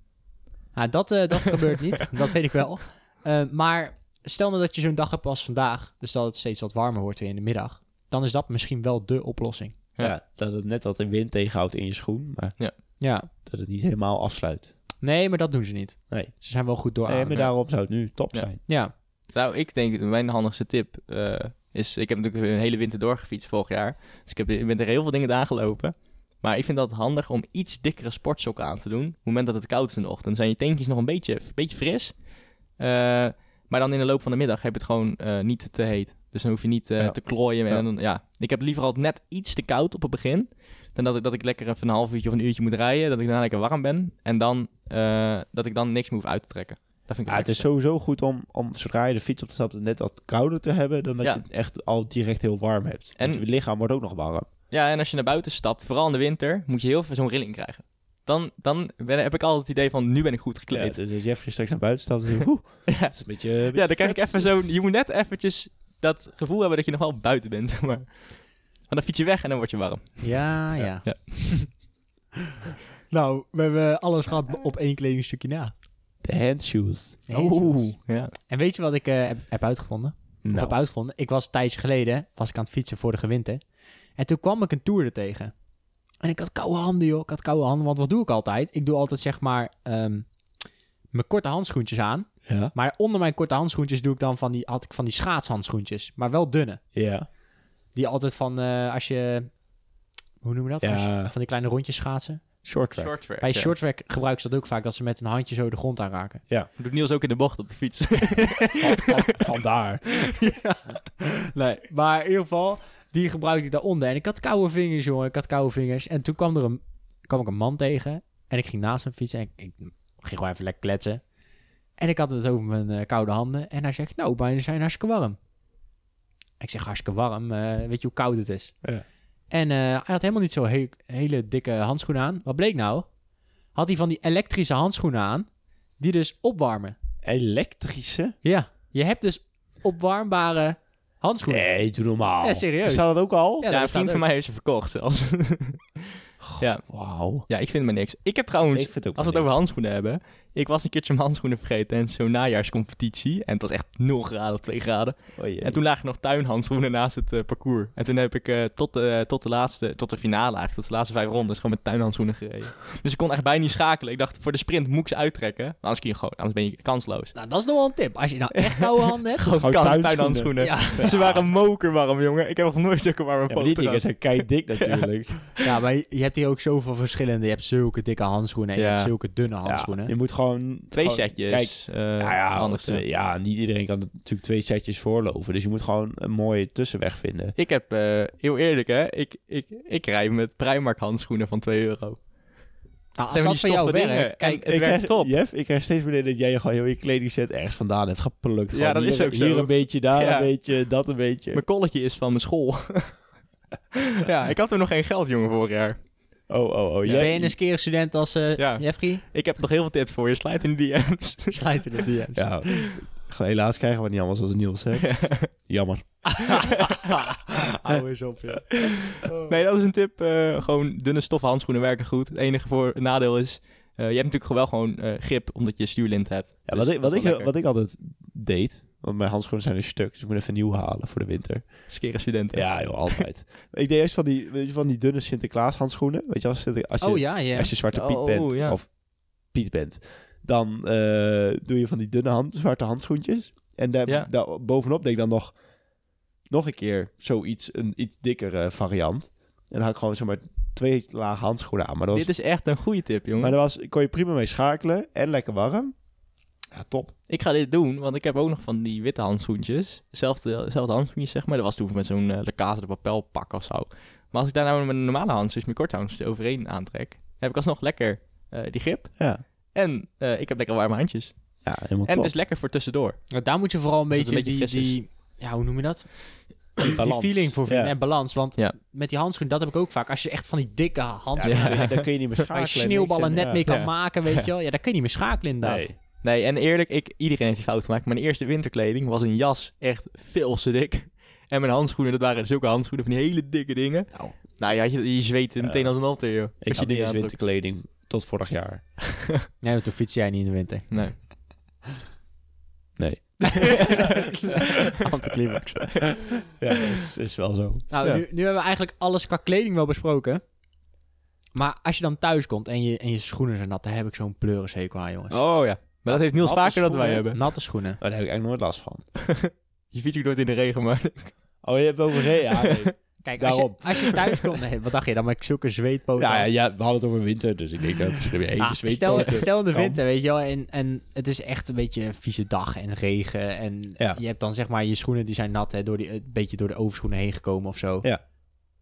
Nou, dat, eh, dat gebeurt niet. Dat weet ik wel. Eh, maar stel nou dat je zo'n dag hebt als vandaag. Dus dat het steeds wat warmer wordt weer in de middag. Dan is dat misschien wel de oplossing.
Ja.
Ja.
dat het net wat de wind tegenhoudt in je schoen, maar
Ja.
dat het niet helemaal afsluit.
Nee, maar dat doen ze niet.
Nee.
Ze zijn wel goed door.
Nee, maar
ja.
daarom zou het nu top
Ja.
zijn.
Ja.
Nou, ik denk, mijn handigste tip eh, is... Ik heb natuurlijk een hele winter doorgefietst vorig jaar. Dus ik, heb, ik ben er heel veel dingen aangelopen. Maar ik vind dat handig om iets dikkere sportsokken aan te doen. Op het moment dat het koud is in de ochtend. Dan zijn je teentjes nog een beetje, een beetje fris. Eh, maar dan in de loop van de middag heb je het gewoon eh, niet te heet. Dus dan hoef je niet eh,
Ja.
te klooien.
Ja.
En dan, ja. Ik heb liever altijd net iets te koud op het begin. Dan dat ik, dat ik lekker even een half uurtje of een uurtje moet rijden. Dat ik daarna lekker warm ben. En dan eh, dat ik dan niks meer hoef uit te trekken. Dat vind ik
Ja, het is
lekkerste.
sowieso goed om, om zodra je de fiets op de stap net wat kouder te hebben, dan dat
Ja.
je het echt al direct heel warm hebt. En
En-
je lichaam wordt ook nog warm.
Ja, en als je naar buiten stapt, vooral in de winter, moet je heel veel zo'n rilling krijgen. Dan, dan ben- heb ik altijd het idee van, nu ben ik goed
Ja,
gekleed.
dus als Jeffrey straks naar buiten staat, dan denk ik, oeh,
Ja,
dat is een beetje... een beetje
ja dan krijg ik
vet.
even zo'n... Je moet net eventjes dat gevoel hebben dat je nog wel buiten bent, zeg maar. Want dan fiets je weg en dan word je warm.
Ja, ja.
ja.
nou, we hebben alles gehad op één kledingstukje na.
De handshoes.
Ja.
En weet je wat ik eh, heb, heb uitgevonden? Of
Nou,
heb uitgevonden? Ik was een tijdje geleden was ik aan het fietsen vorige winter. En toen kwam ik een toer er tegen. En ik had koude handen, joh. Ik had koude handen. Want wat doe ik altijd? Ik doe altijd, zeg maar, ehm, mijn korte handschoentjes aan.
Ja.
Maar onder mijn korte handschoentjes doe ik dan van die, had ik van die schaatshandschoentjes. Maar wel dunne.
Ja.
Die altijd van eh, als je. Hoe noem je dat? Als je-
Ja.
van die kleine rondjes schaatsen.
Short track.
Short track.
Bij
ja.
shorttrack gebruiken ze dat ook vaak, dat ze met hun handje zo de grond aanraken.
Doet Niels ook in de bocht op de fiets.
Vandaar.
Nee, maar in ieder geval, die gebruikte ik daaronder. En ik had koude vingers, jongen. Ik had koude vingers. En toen kwam, er een, kwam ik een man tegen. En ik ging naast hem fietsen. En ik, ik ging gewoon even lekker kletsen. En ik had het over mijn eh, koude handen. En hij zegt, nou, bijna zijn hartstikke warm. Ik zeg, hartstikke warm. eh, weet je hoe koud het is?
Ja.
En eh, hij had helemaal niet zo he- hele dikke handschoenen aan. Wat bleek nou? Had hij van die elektrische handschoenen aan. Die dus opwarmen.
Elektrische?
Ja, je hebt dus opwarmbare handschoenen.
Nee, doe normaal.
Ja, serieus.
Staat dat ook al?
Ja, dat
Ja, een
bestaat
vriend van
ook.
mij heeft ze verkocht zelfs. ja.
Wauw.
ja, ik vind maar niks. Ik heb trouwens,
Ik vind het ook
als we het
maar
over
niks.
handschoenen hebben. Ik was een keertje mijn handschoenen vergeten en zo'n najaarscompetitie. En het was echt 0 graden of 2 graden.
Oh, jee.
En toen lagen nog tuinhandschoenen naast het eh, parcours. En toen heb ik eh, tot, de, tot de laatste, tot de finale eigenlijk, tot de laatste vijf rondes gewoon met tuinhandschoenen gereden. Dus ik kon echt bijna niet schakelen. Ik dacht, voor de sprint moet ik ze uittrekken. Nou, Maar Anders, kun je gewoon, anders ben je kansloos.
Nou, dat is nog wel een tip. Als je nou echt koude handen hebt.
Gewoon
Gewoon
kan- tuinhandschoenen.
tuinhandschoenen.
Ze waren mokerwarm, jongen. Ik heb nog nooit zulke warme
Ja, maar
foto's.
die dingen zijn kei dik natuurlijk.
Ja, maar je je hebt hier ook zoveel verschillende. Je hebt zulke dikke handschoenen en
Ja.
je hebt zulke dunne
Ja,
handschoenen.
je moet gewoon...
Twee
gewoon-
setjes.
Kijk,
eh,
nou ja,
handig
twee- ja, niet iedereen kan natuurlijk twee setjes voorlopen. Dus je moet gewoon een mooie tussenweg vinden.
Ik heb, eh, heel eerlijk hè, ik, ik, ik rij met Primark handschoenen van 2 euro.
Nou, als dat
Zijn van
van
die
jou
stoffen dingen.
werkt, kijk,
En- Het werkt
krijg-
top.
Jeff, ik krijg steeds meer dat jij gewoon heel je kledingset ergens vandaan hebt geplukt.
Ja,
Gewoon
dat
hier,
is ook zo.
Hier een beetje, daar
Ja.
een beetje, dat een beetje.
Mijn kolletje is van mijn school. ja, ik had er nog geen geld, jongen, vorig jaar.
Oh, oh, oh.
ben je een keer student als eh
Ja.
Jeffrey?
Ik heb nog heel veel tips voor je. Slijt in de DM's.
Sluiten de DM's.
Ja, gewoon helaas krijgen we niet allemaal zoals Niels, hè? Jammer.
Hou eens op, ja.
Nee, dat is een tip. eh, gewoon dunne stoffen handschoenen werken goed. Het enige voor nadeel is, eh, je hebt natuurlijk wel gewoon eh, grip, omdat je stuurlint hebt.
Ja,
Dus
wat, ik,
dat
wat,
is
ik,
wel
wat ik altijd deed, want mijn handschoenen zijn dus stuk, dus ik moet even nieuw halen voor de winter.
lekker. Skere studenten.
Ja, joh, altijd. ik deed eerst van die, weet je, van die dunne Sinterklaas handschoenen. Weet je, als, Sinter- als je,
Oh ja, ja.
als je Zwarte Piet
Oh,
bent,
ja.
of Piet bent, dan eh, doe je van die dunne hand, zwarte handschoentjes. En daar,
Ja.
daar bovenop deed ik dan nog, nog een keer zoiets, een iets dikkere variant. En dan had ik gewoon zomaar twee lage handschoenen aan. Maar dat was
Dit is echt een goede tip, jongen.
Maar daar was, kon je prima mee schakelen en lekker warm. Ja, top.
Ik ga dit doen, want ik heb ook nog van die witte handschoentjes. Zelfde, zelfde handschoentjes, zeg maar. Dat was toen met zo'n eh, Le Casa de Papel pak of zo. Maar als ik daar nou met mijn normale handschoentjes, mijn korte handschoentjes overheen aantrek... dan heb ik alsnog lekker eh, die grip.
Ja,
En eh, ik heb lekker warme handjes.
ja helemaal
En
top.
het is lekker voor tussendoor.
Nou, Daar moet je vooral een
Als het
beetje,
een beetje
die,
fris
die... Ja, hoe noem je dat?
Balans.
Die feeling voor vinden
Ja.
en balans. Want
Ja.
met die handschoenen, dat heb ik ook vaak. Als je echt van die dikke
Ja,
handschoenen...
dan
Ja.
kun je- Dan kun je niet meer
Waar je
schakelen.
sneeuwballen
niks
net
en-
mee kan
Ja.
maken, weet je wel. Ja, daar kun je niet meer schakelen
Ja.
inderdaad.
Nee.
Nee, en eerlijk, ik, iedereen heeft die fout gemaakt. Mijn eerste winterkleding was een jas echt veel te dik. En mijn handschoenen, dat waren zulke handschoenen van die hele dikke dingen.
Nou.
Nou ja, je, je zweet meteen
Ja.
als een alter, joh.
Ik
Als je
had niet
die
eens
aantrok.
winterkleding tot vorig jaar.
Nee, want toen fiets jij niet in de winter.
Nee.
Nee.
Anticlimax.
Ja, dat is, is wel zo.
Nou,
Ja.
nu, nu hebben we eigenlijk alles qua kleding wel besproken. Maar als je dan thuis komt en je, en je schoenen zijn nat, dan heb ik zo'n pleurishekel aan, jongens.
Oh ja. Maar dat heeft Niels
Natte
vaker dan wij
schoenen.
hebben.
Natte schoenen.
Maar daar heb ik eigenlijk nooit last van.
Je fietst ook nooit in de regen, maar...
Oh, je hebt over reden. Ja, nee.
Kijk, als je,
Daarom.
als je thuis komt... Nee, wat dacht je? Dan maak ik zulke
Nou
zweetpoten.
ja,
aan.
ja, we hadden het over winter, dus ik denk dat misschien weer eentje
Ah,
zweet.
stel, stel in de
Kan.
winter, weet je wel, en, en het is echt een beetje een vieze dag en regen. En
Ja.
je hebt dan zeg maar je schoenen die zijn nat, hè, door die, een beetje door de overschoenen heen gekomen of zo.
Ja.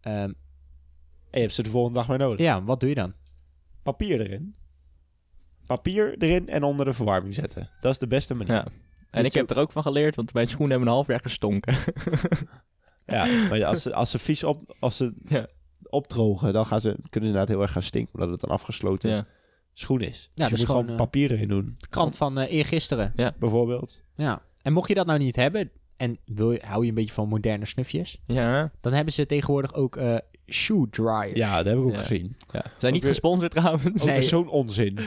Ehm,
En je hebt ze de volgende dag weer nodig.
ja, wat doe je dan?
Papier erin. Papier erin en onder de verwarming zetten. Dat is de beste manier.
Ja. En ik heb er ook van geleerd, want mijn schoenen hebben een half jaar gestonken.
Ja, maar als ze, als ze vies op, als ze
Ja.
opdrogen, dan gaan ze, kunnen ze inderdaad heel erg gaan stinken, omdat het een afgesloten
Ja.
schoen is.
dat
dus je
is
moet gewoon
gewoon, eh,
papier erin doen,
De krant van eh eergisteren.
bijvoorbeeld.
Ja. En mocht je dat nou niet hebben, en wil je, hou je een beetje van moderne snufjes,
ja.
dan hebben ze tegenwoordig ook eh, shoe dryers.
Ja, dat heb ik ook
Ja.
gezien.
We zijn niet
weer-
gesponsord trouwens.
Ook
Nee.
weer zo'n onzin.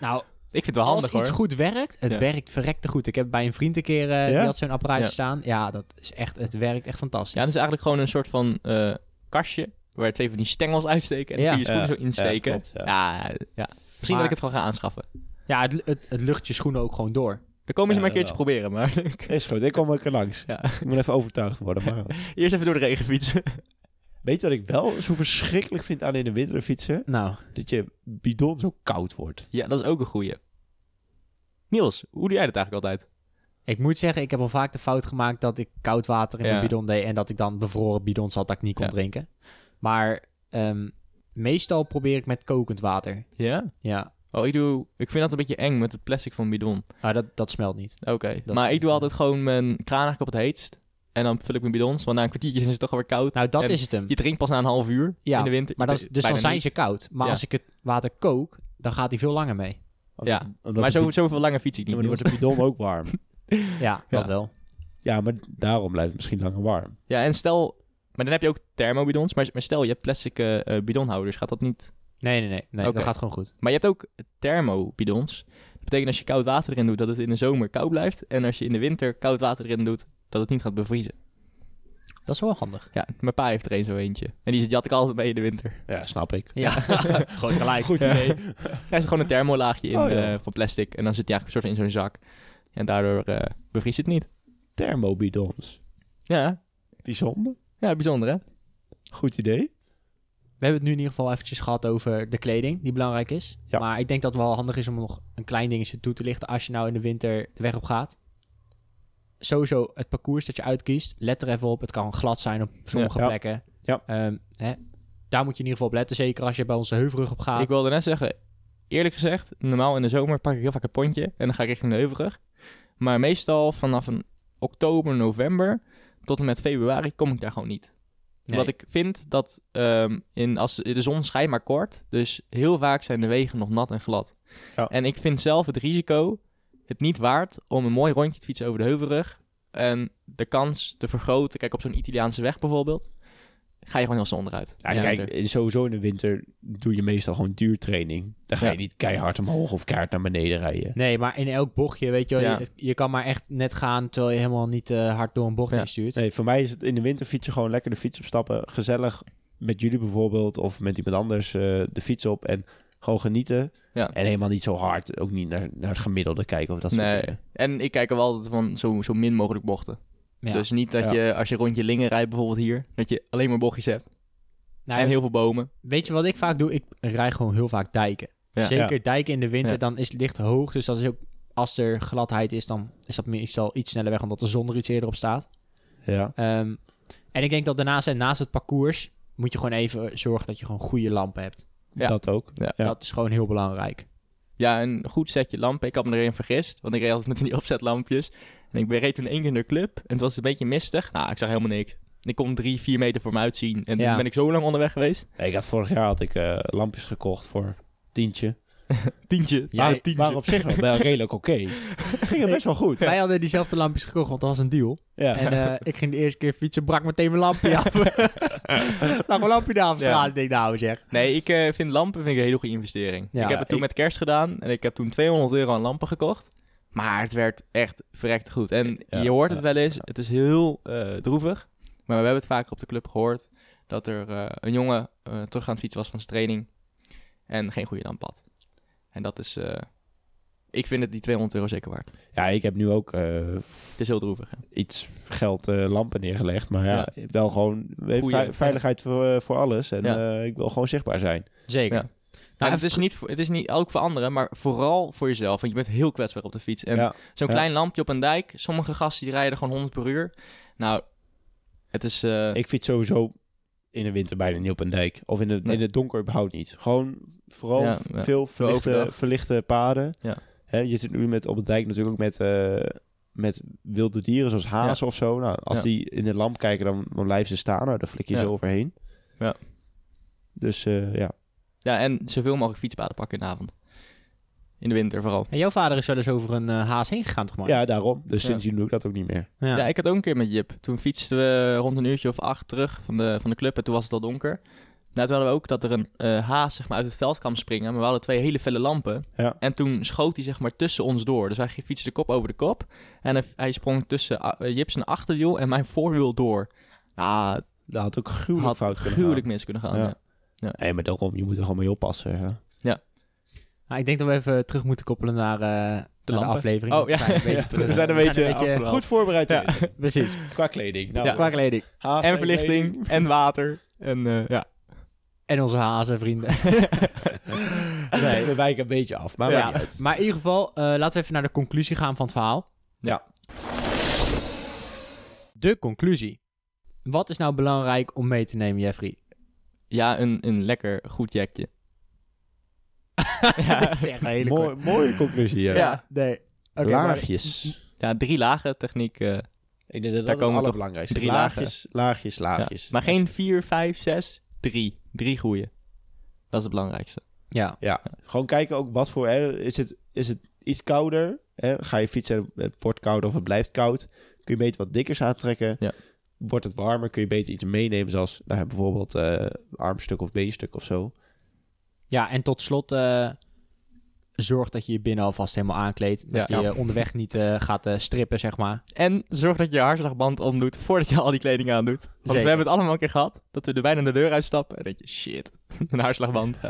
Nou,
Ik vind het wel
als
handig
iets
hoor.
goed werkt, het
Ja.
werkt verrekte goed. Ik heb bij een vriend een keer, eh,
Ja?
die had zo'n apparaatje
Ja.
staan. Ja, dat is echt, het werkt echt fantastisch.
Ja, dat is eigenlijk gewoon een soort van eh, kastje waar twee van die stengels uitsteken en
Ja.
dan kun je je schoenen
Ja.
zo insteken.
Ja,
Ja,
klopt,
ja. Misschien dat
Maar-
ik het gewoon ga aanschaffen.
Ja, het, het, het lucht je schoenen ook gewoon door.
Dan komen ze
Ja,
maar een keertje
wel.
proberen, maar...
Is goed, ik kom ook er langs.
Ja.
Ik moet even overtuigd worden. Maar...
Eerst even door de regen fietsen.
Weet je wat ik wel zo verschrikkelijk vind aan in de winter fietsen?
Nou,
Dat je bidon zo koud wordt.
Ja, dat is ook een goeie. Niels, hoe doe jij dat eigenlijk altijd?
ik moet zeggen, ik heb al vaak de fout gemaakt dat ik koud water in
Ja.
mijn bidon deed en dat ik dan bevroren bidons had dat ik niet kon
Ja.
drinken. Maar ehm, meestal probeer ik met kokend water.
Ja?
Ja,
Oh, ik doe... Ik vind dat een beetje eng met het plastic van bidon.
maar dat, dat smelt niet.
Oké.
is
Maar ik
goed,
doe
ja.
altijd gewoon mijn kraan eigenlijk op het heetst. En dan vul ik mijn bidons, want na een kwartiertje zijn ze toch alweer koud.
Nou, dat
En
is het hem.
Je drinkt pas na een half uur
Ja,
in de winter.
Maar dat, is-
Bijna
dus dan zijn
niet.
ze koud. Maar
Ja.
als ik het water kook, dan gaat hij veel langer mee.
Omdat-
Ja,
omdat
Maar
de
zo,
bid-
zoveel langer fiets ik
ja,
niet.
maar dan
Niels.
wordt de bidon ook warm.
Ja, dat wel.
Ja, maar daarom blijft het misschien langer warm.
Ja, en stel... Maar dan heb je ook thermobidons. Maar, maar stel, je hebt plastic eh, eh, bidonhouders. Gaat dat niet...
Nee, nee, nee. nee
Oké.
Dat gaat gewoon goed.
Maar je hebt ook thermobidons. Dat betekent als je koud water erin doet, dat het in de zomer koud blijft. En als je in de winter koud water erin doet, dat het niet gaat bevriezen.
Dat is wel handig.
Ja, mijn pa heeft er een zo eentje. En die, zit- die had ik altijd mee in de winter.
Ja, snap ik.
Ja, groot gelijk. Goed idee.
Er zit gewoon een thermolaagje in
Oh, ja.
eh, van plastic. En dan zit die eigenlijk een soort van in zo'n zak. En daardoor eh, bevriest het niet.
Thermobidons.
Ja,
Bijzonder.
ja bijzonder hè?
Goed idee.
We hebben het nu in ieder geval eventjes gehad over de kleding, die belangrijk is.
Ja.
Maar ik denk dat het wel handig is om nog een klein dingetje toe te lichten als je nou in de winter de weg op gaat. Sowieso het parcours dat je uitkiest, let er even op. Het kan glad zijn op sommige
Ja. Ja.
plekken.
Ja.
Ehm, hè? Daar moet je in ieder geval op letten, zeker als je bij onze heuvelrug op gaat.
Ik wilde net zeggen, eerlijk gezegd, normaal in de zomer pak ik heel vaak een pontje en dan ga ik richting de Heuvelrug. Maar meestal vanaf een oktober, november tot en met februari kom ik daar gewoon niet.
Nee.
Wat ik vind dat ehm, in, als, de zon schijnt maar kort, dus heel vaak zijn de wegen nog nat en glad.
Ja.
En ik vind zelf het risico het niet waard om een mooi rondje te fietsen over de Heuvelrug. En de kans te vergroten, kijk op zo'n Italiaanse weg bijvoorbeeld, ga je gewoon heel snel onderuit.
Ja,
In de winter.
kijk, sowieso in de winter doe je meestal gewoon duurtraining. Dan ga je
Ja.
niet keihard omhoog of keihard naar beneden rijden.
Nee, maar in elk bochtje, weet je wel,
Ja.
je, je kan maar echt net gaan terwijl je helemaal niet eh, hard door een bocht
Ja.
instuurt.
Nee, voor mij is het in de winter fietsen gewoon lekker de fiets opstappen. Gezellig met jullie bijvoorbeeld of met iemand anders eh, de fiets op en gewoon genieten.
Ja.
En helemaal niet zo hard. Ook niet naar, naar het gemiddelde kijken of eh, dat soort
Nee.
dingen.
En ik kijk er wel altijd van zo, zo min mogelijk bochten.
Ja.
Dus niet dat
Ja.
je, als je rond je lingen rijdt bijvoorbeeld hier, dat je alleen maar bochtjes hebt.
Nou,
en heel veel bomen.
Weet je wat ik vaak doe? Ik rij gewoon heel vaak dijken.
Ja.
Zeker dijken in de winter,
Ja.
dan is het licht hoog. Dus dat is ook, als er gladheid is, dan is dat meestal iets sneller weg, omdat de zon er iets eerder op staat.
Ja.
Ehm, en ik denk dat daarnaast en naast het parcours moet je gewoon even zorgen dat je gewoon goede lampen hebt.
Ja.
dat ook. Ja.
Dat is gewoon heel belangrijk.
Ja, een goed setje lampen. Ik had me erin vergist, want ik reed altijd met van die opzetlampjes. En ik reed toen één keer in de club en het was een beetje mistig. Nou, ik zag helemaal niks. Ik kon drie, vier meter voor me uitzien. En
Ja.
toen ben ik zo lang onderweg geweest.
Nee, ik had vorig jaar had ik eh, lampjes gekocht voor tientje.
Tientje.
Ja,
Ah,
ik-
tientje.
Maar op zich nog wel redelijk oké. Ging er best wel goed.
Wij hadden diezelfde lampjes gekocht, want dat was een deal.
Ja.
En eh, ik ging de eerste keer fietsen, brak meteen mijn lampje af.
Nou,
Lag mijn lampje daar op straat.
Ja.
Ik denk, nou zeg.
Nee, ik eh, vind lampen vind ik een hele goede investering.
Ja.
ik heb het toen
Ik-
met kerst gedaan en ik heb toen 200 euro aan lampen gekocht. Maar het werd echt verrekt goed. En
Ja,
je hoort het
ja,
wel eens, het is heel eh, droevig. Maar we hebben het vaker op de club gehoord dat er eh, een jongen eh, terug aan het fietsen was van zijn training. En geen goede lamp had. En dat is, eh, ik vind het die 200 euro zeker waard.
ja, ik heb nu ook eh,
Het is heel droevig. hè.
iets geld eh, lampen neergelegd. Maar ja, wel gewoon eh,
Goeie,
vei-
ja.
veiligheid voor, eh, voor alles. En
Ja.
eh, ik wil gewoon zichtbaar zijn.
Zeker.
Ja.
Nou,
En het, is niet, voor- het is niet ook voor anderen, maar vooral voor jezelf. Want je bent heel kwetsbaar op de fiets. En
ja.
Zo'n
Ja.
klein lampje op een dijk. Sommige gasten die rijden gewoon 100 per uur. Nou, het is... eh,
Ik fiets sowieso in de winter bijna niet op een dijk. Of in, de,
Nee.
in het donker überhaupt niet. Gewoon vooral
Ja,
v-
ja.
veel verlichte,
overdag.
verlichte paden.
Ja.
Hè, je zit nu met, op de dijk natuurlijk ook met, eh, met wilde dieren zoals hazen of zo. Nou, als
Ja.
die in de lamp kijken, dan, dan blijven ze staan. Nou, dan flik je
Ja.
ze overheen.
Ja.
Dus eh, ja.
ja, en zoveel mogelijk fietspaden pakken in de avond. In de winter vooral.
En jouw vader is wel eens over een eh, haas heen gegaan, toch maar?
ja, daarom. Dus
Ja.
sindsdien doe ik dat ook niet meer.
Ja.
Ja.
ik had ook een keer met Jip. Toen fietsten we rond een uurtje of acht terug van de, van de club. En toen was het al donker. Nou, toen hadden we ook dat er een eh, haas zeg maar, uit het veld kwam springen. Maar we hadden twee hele felle lampen.
Ja.
En toen schoot hij zeg maar tussen ons door. Dus hij fietste kop over de kop. En hij, hij sprong tussen ah, eh, Jip's achterwiel en mijn voorwiel door. Ah,
Dat had ook gruwelijk
had
fout kunnen
gruwelijk
gaan.
mis kunnen gaan.
Ja.
ja.
Nee, maar daarom. Je moet er gewoon mee oppassen. hè.
Ah, Nou, ik denk dat we even terug moeten koppelen naar eh,
De
naar de
lampen.
aflevering.
Oh,
dat we zijn
ja.
een beetje
Ja,
terug-
we zijn een beetje afgedwaald.
Goed
Goed
voorbereid.
Ja.
Precies.
Qua kleding. Nou,
Ja.
Qua kleding.
En verlichting. En water. En eh, ja.
En onze hazenvrienden.
Nee. We wijken een beetje af, maar
Ja.
maakt niet uit.
Maar in ieder geval, eh, laten we even naar de conclusie gaan van het verhaal.
Ja.
De conclusie. Wat is nou belangrijk om mee te nemen, Jeffrey?
Ja, een, een lekker goed jekje. ja.
Dat is echt een hele
Mooi-
kort-
mooie conclusie, ja.
Ja.
Nee. Oké, maar-
Laagjes.
ja, drie lagen techniek. eh,
Ik denk dat
Daar
dat
komen
het
we toch
allerbelangrijkste is.
drie
Laagjes, laagjes,
ja.
laagjes.
Maar geen vier, vijf, zes. Drie. Drie goeie. Dat is het belangrijkste.
Ja.
Dus Gewoon kijken ook wat voor... Hè, is, het, is het iets kouder? Hè? Ga je fietsen, het wordt koud of het blijft koud? Kun je beter wat dikkers aantrekken?
Ja.
Wordt het warmer? Kun je beter iets meenemen zoals nou, ja, bijvoorbeeld eh, armstuk of beenstuk of zo?
ja, en tot slot, eh, zorg dat je je binnen alvast helemaal aankleedt. Dat
Ja.
je eh, onderweg niet eh, gaat eh, strippen, zeg maar.
En zorg dat je je hartslagband omdoet voordat je al die kleding aandoet. Want
Zeker.
we hebben het allemaal een keer gehad. Dat we er bijna de deur uitstappen. En dat je, shit, een hartslagband.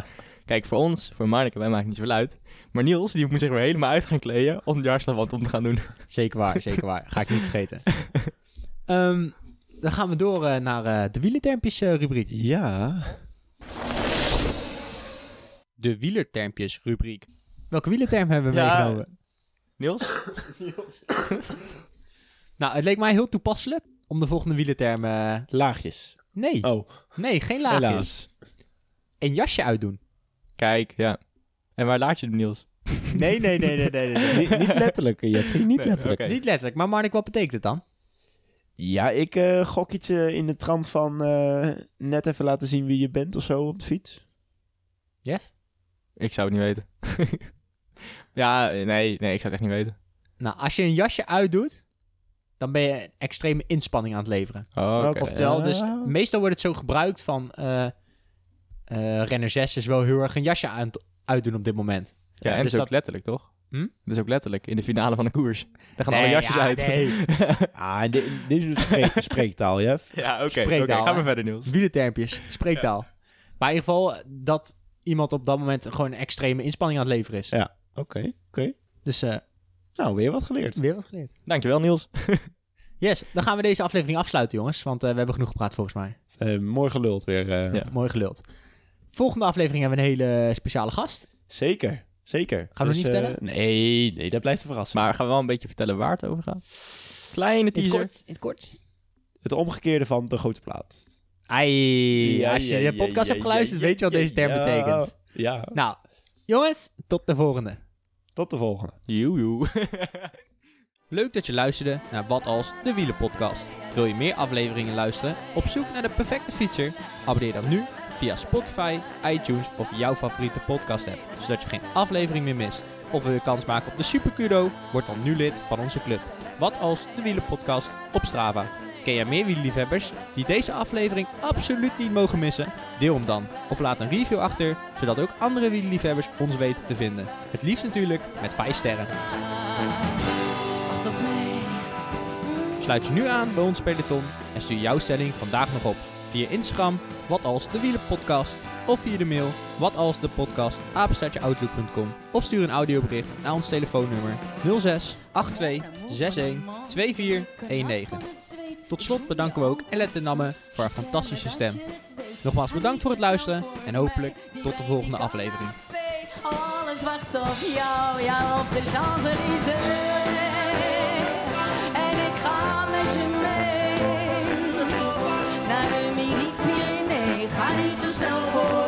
Kijk, voor ons, voor Marneke, wij maken niet zoveel uit. Maar Niels, die moet zich weer helemaal uit gaan kleden om die hartslagband om te gaan doen.
Zeker waar, zeker waar. Ga ik niet vergeten. Ehm, dan gaan we door eh, naar eh, de wielertermpjes eh, rubriek.
Ja.
De wielertermpjes rubriek. Welke wielerterm hebben we
Ja.
meegenomen?
Niels?
Nou, het leek mij heel toepasselijk om de volgende wielerterm... eh,
Laagjes.
nee,
Oh,
nee, geen laagjes.
helaas.
Een jasje uitdoen.
Kijk, ja. En waar laat je hem, Niels?
Nee, nee, nee, nee, nee.
niet, niet letterlijk, Jeffrey. Niet
Nee,
letterlijk.
oké.
Niet letterlijk, maar Marnik, wat betekent het dan?
Ja, ik eh, gok iets eh, in de trant van eh, net even laten zien wie je bent of zo op de fiets.
Jeff?
Ik zou het niet weten. ja, nee, nee, ik zou het echt niet weten.
Nou, als je een jasje uitdoet, dan ben je een extreme inspanning aan het leveren.
Oh, oké.
Of-
Oftewel, dus
Ja.
meestal wordt het zo gebruikt van... eh eh, renner 6 is wel heel erg een jasje aan het uitdoen op dit moment.
Ja, en
dus
het is ook
dat-
letterlijk, toch?
Hm?
Het is ook letterlijk, in de finale van de koers. Daar gaan alle
Nee,
jasjes
ja,
uit.
nee.
Ah, en di- dit is dus spreek- spreektaal, Jeff.
ja, oké.
Spreektaal,
Oké, Ga
hè?
maar verder, Niels.
Wielertermpjes, spreektaal. Maar in ieder geval eh, dat iemand op dat moment gewoon een extreme inspanning aan het leveren is.
Ja. Oké, oké.
Dus eh,
Nou, weer wat geleerd.
weer wat geleerd.
Dankjewel, Niels.
Yes, dan gaan we deze aflevering afsluiten, jongens. Want eh, we hebben genoeg gepraat volgens mij.
Eh, mooi geluld weer. eh.
Ja.
Mooi geluld. Volgende aflevering hebben we een hele speciale gast.
Zeker, zeker.
Gaan we
Dus,
nog niet
eh, nee, nee, dat blijft een verrassing.
Maar gaan we wel een beetje vertellen waar het over gaat? Kleine
In het
teaser.
kort. In het kort.
Het omgekeerde van de grote plaat.
Ai,
Ja,
als je
ja,
de podcast
ja,
hebt
ja,
geluisterd,
ja,
weet je wat
ja,
deze term
ja.
betekent.
Ja,
Nou, jongens, tot de volgende.
tot de volgende.
Joejoe.
Leuk dat je luisterde naar Wat Als de Wielenpodcast. Wil je meer afleveringen luisteren? Op zoek naar de perfecte fietser? Abonneer dan nu via Spotify, iTunes of jouw favoriete podcast app, zodat je geen aflevering meer mist. Of wil je kans maken op de Supercudo? Word dan nu lid van onze club. Wat Als de Wielenpodcast op Strava. Ken jij meer wielerliefhebbers die deze aflevering absoluut niet mogen missen? Deel hem dan of laat een review achter, zodat ook andere wielerliefhebbers ons weten te vinden. Het liefst natuurlijk met 5 sterren.
Wacht op mij.
Sluit je nu aan bij ons peloton en stuur jouw stelling vandaag nog op via Instagram wat als de wielenpodcast of via de mail wat als de podcast apenstaartjeoutlook.com of stuur een audiobericht naar ons telefoonnummer 06 82 61 2419. Tot slot bedanken we ook Ellen Namme voor haar fantastische stem. Nogmaals bedankt voor het luisteren en hopelijk tot de volgende aflevering.
Alles wacht op jou, ja op de Champs-Élysées. En ik ga met je mee naar de Midi-Pyrénées. Ga niet te snel voor.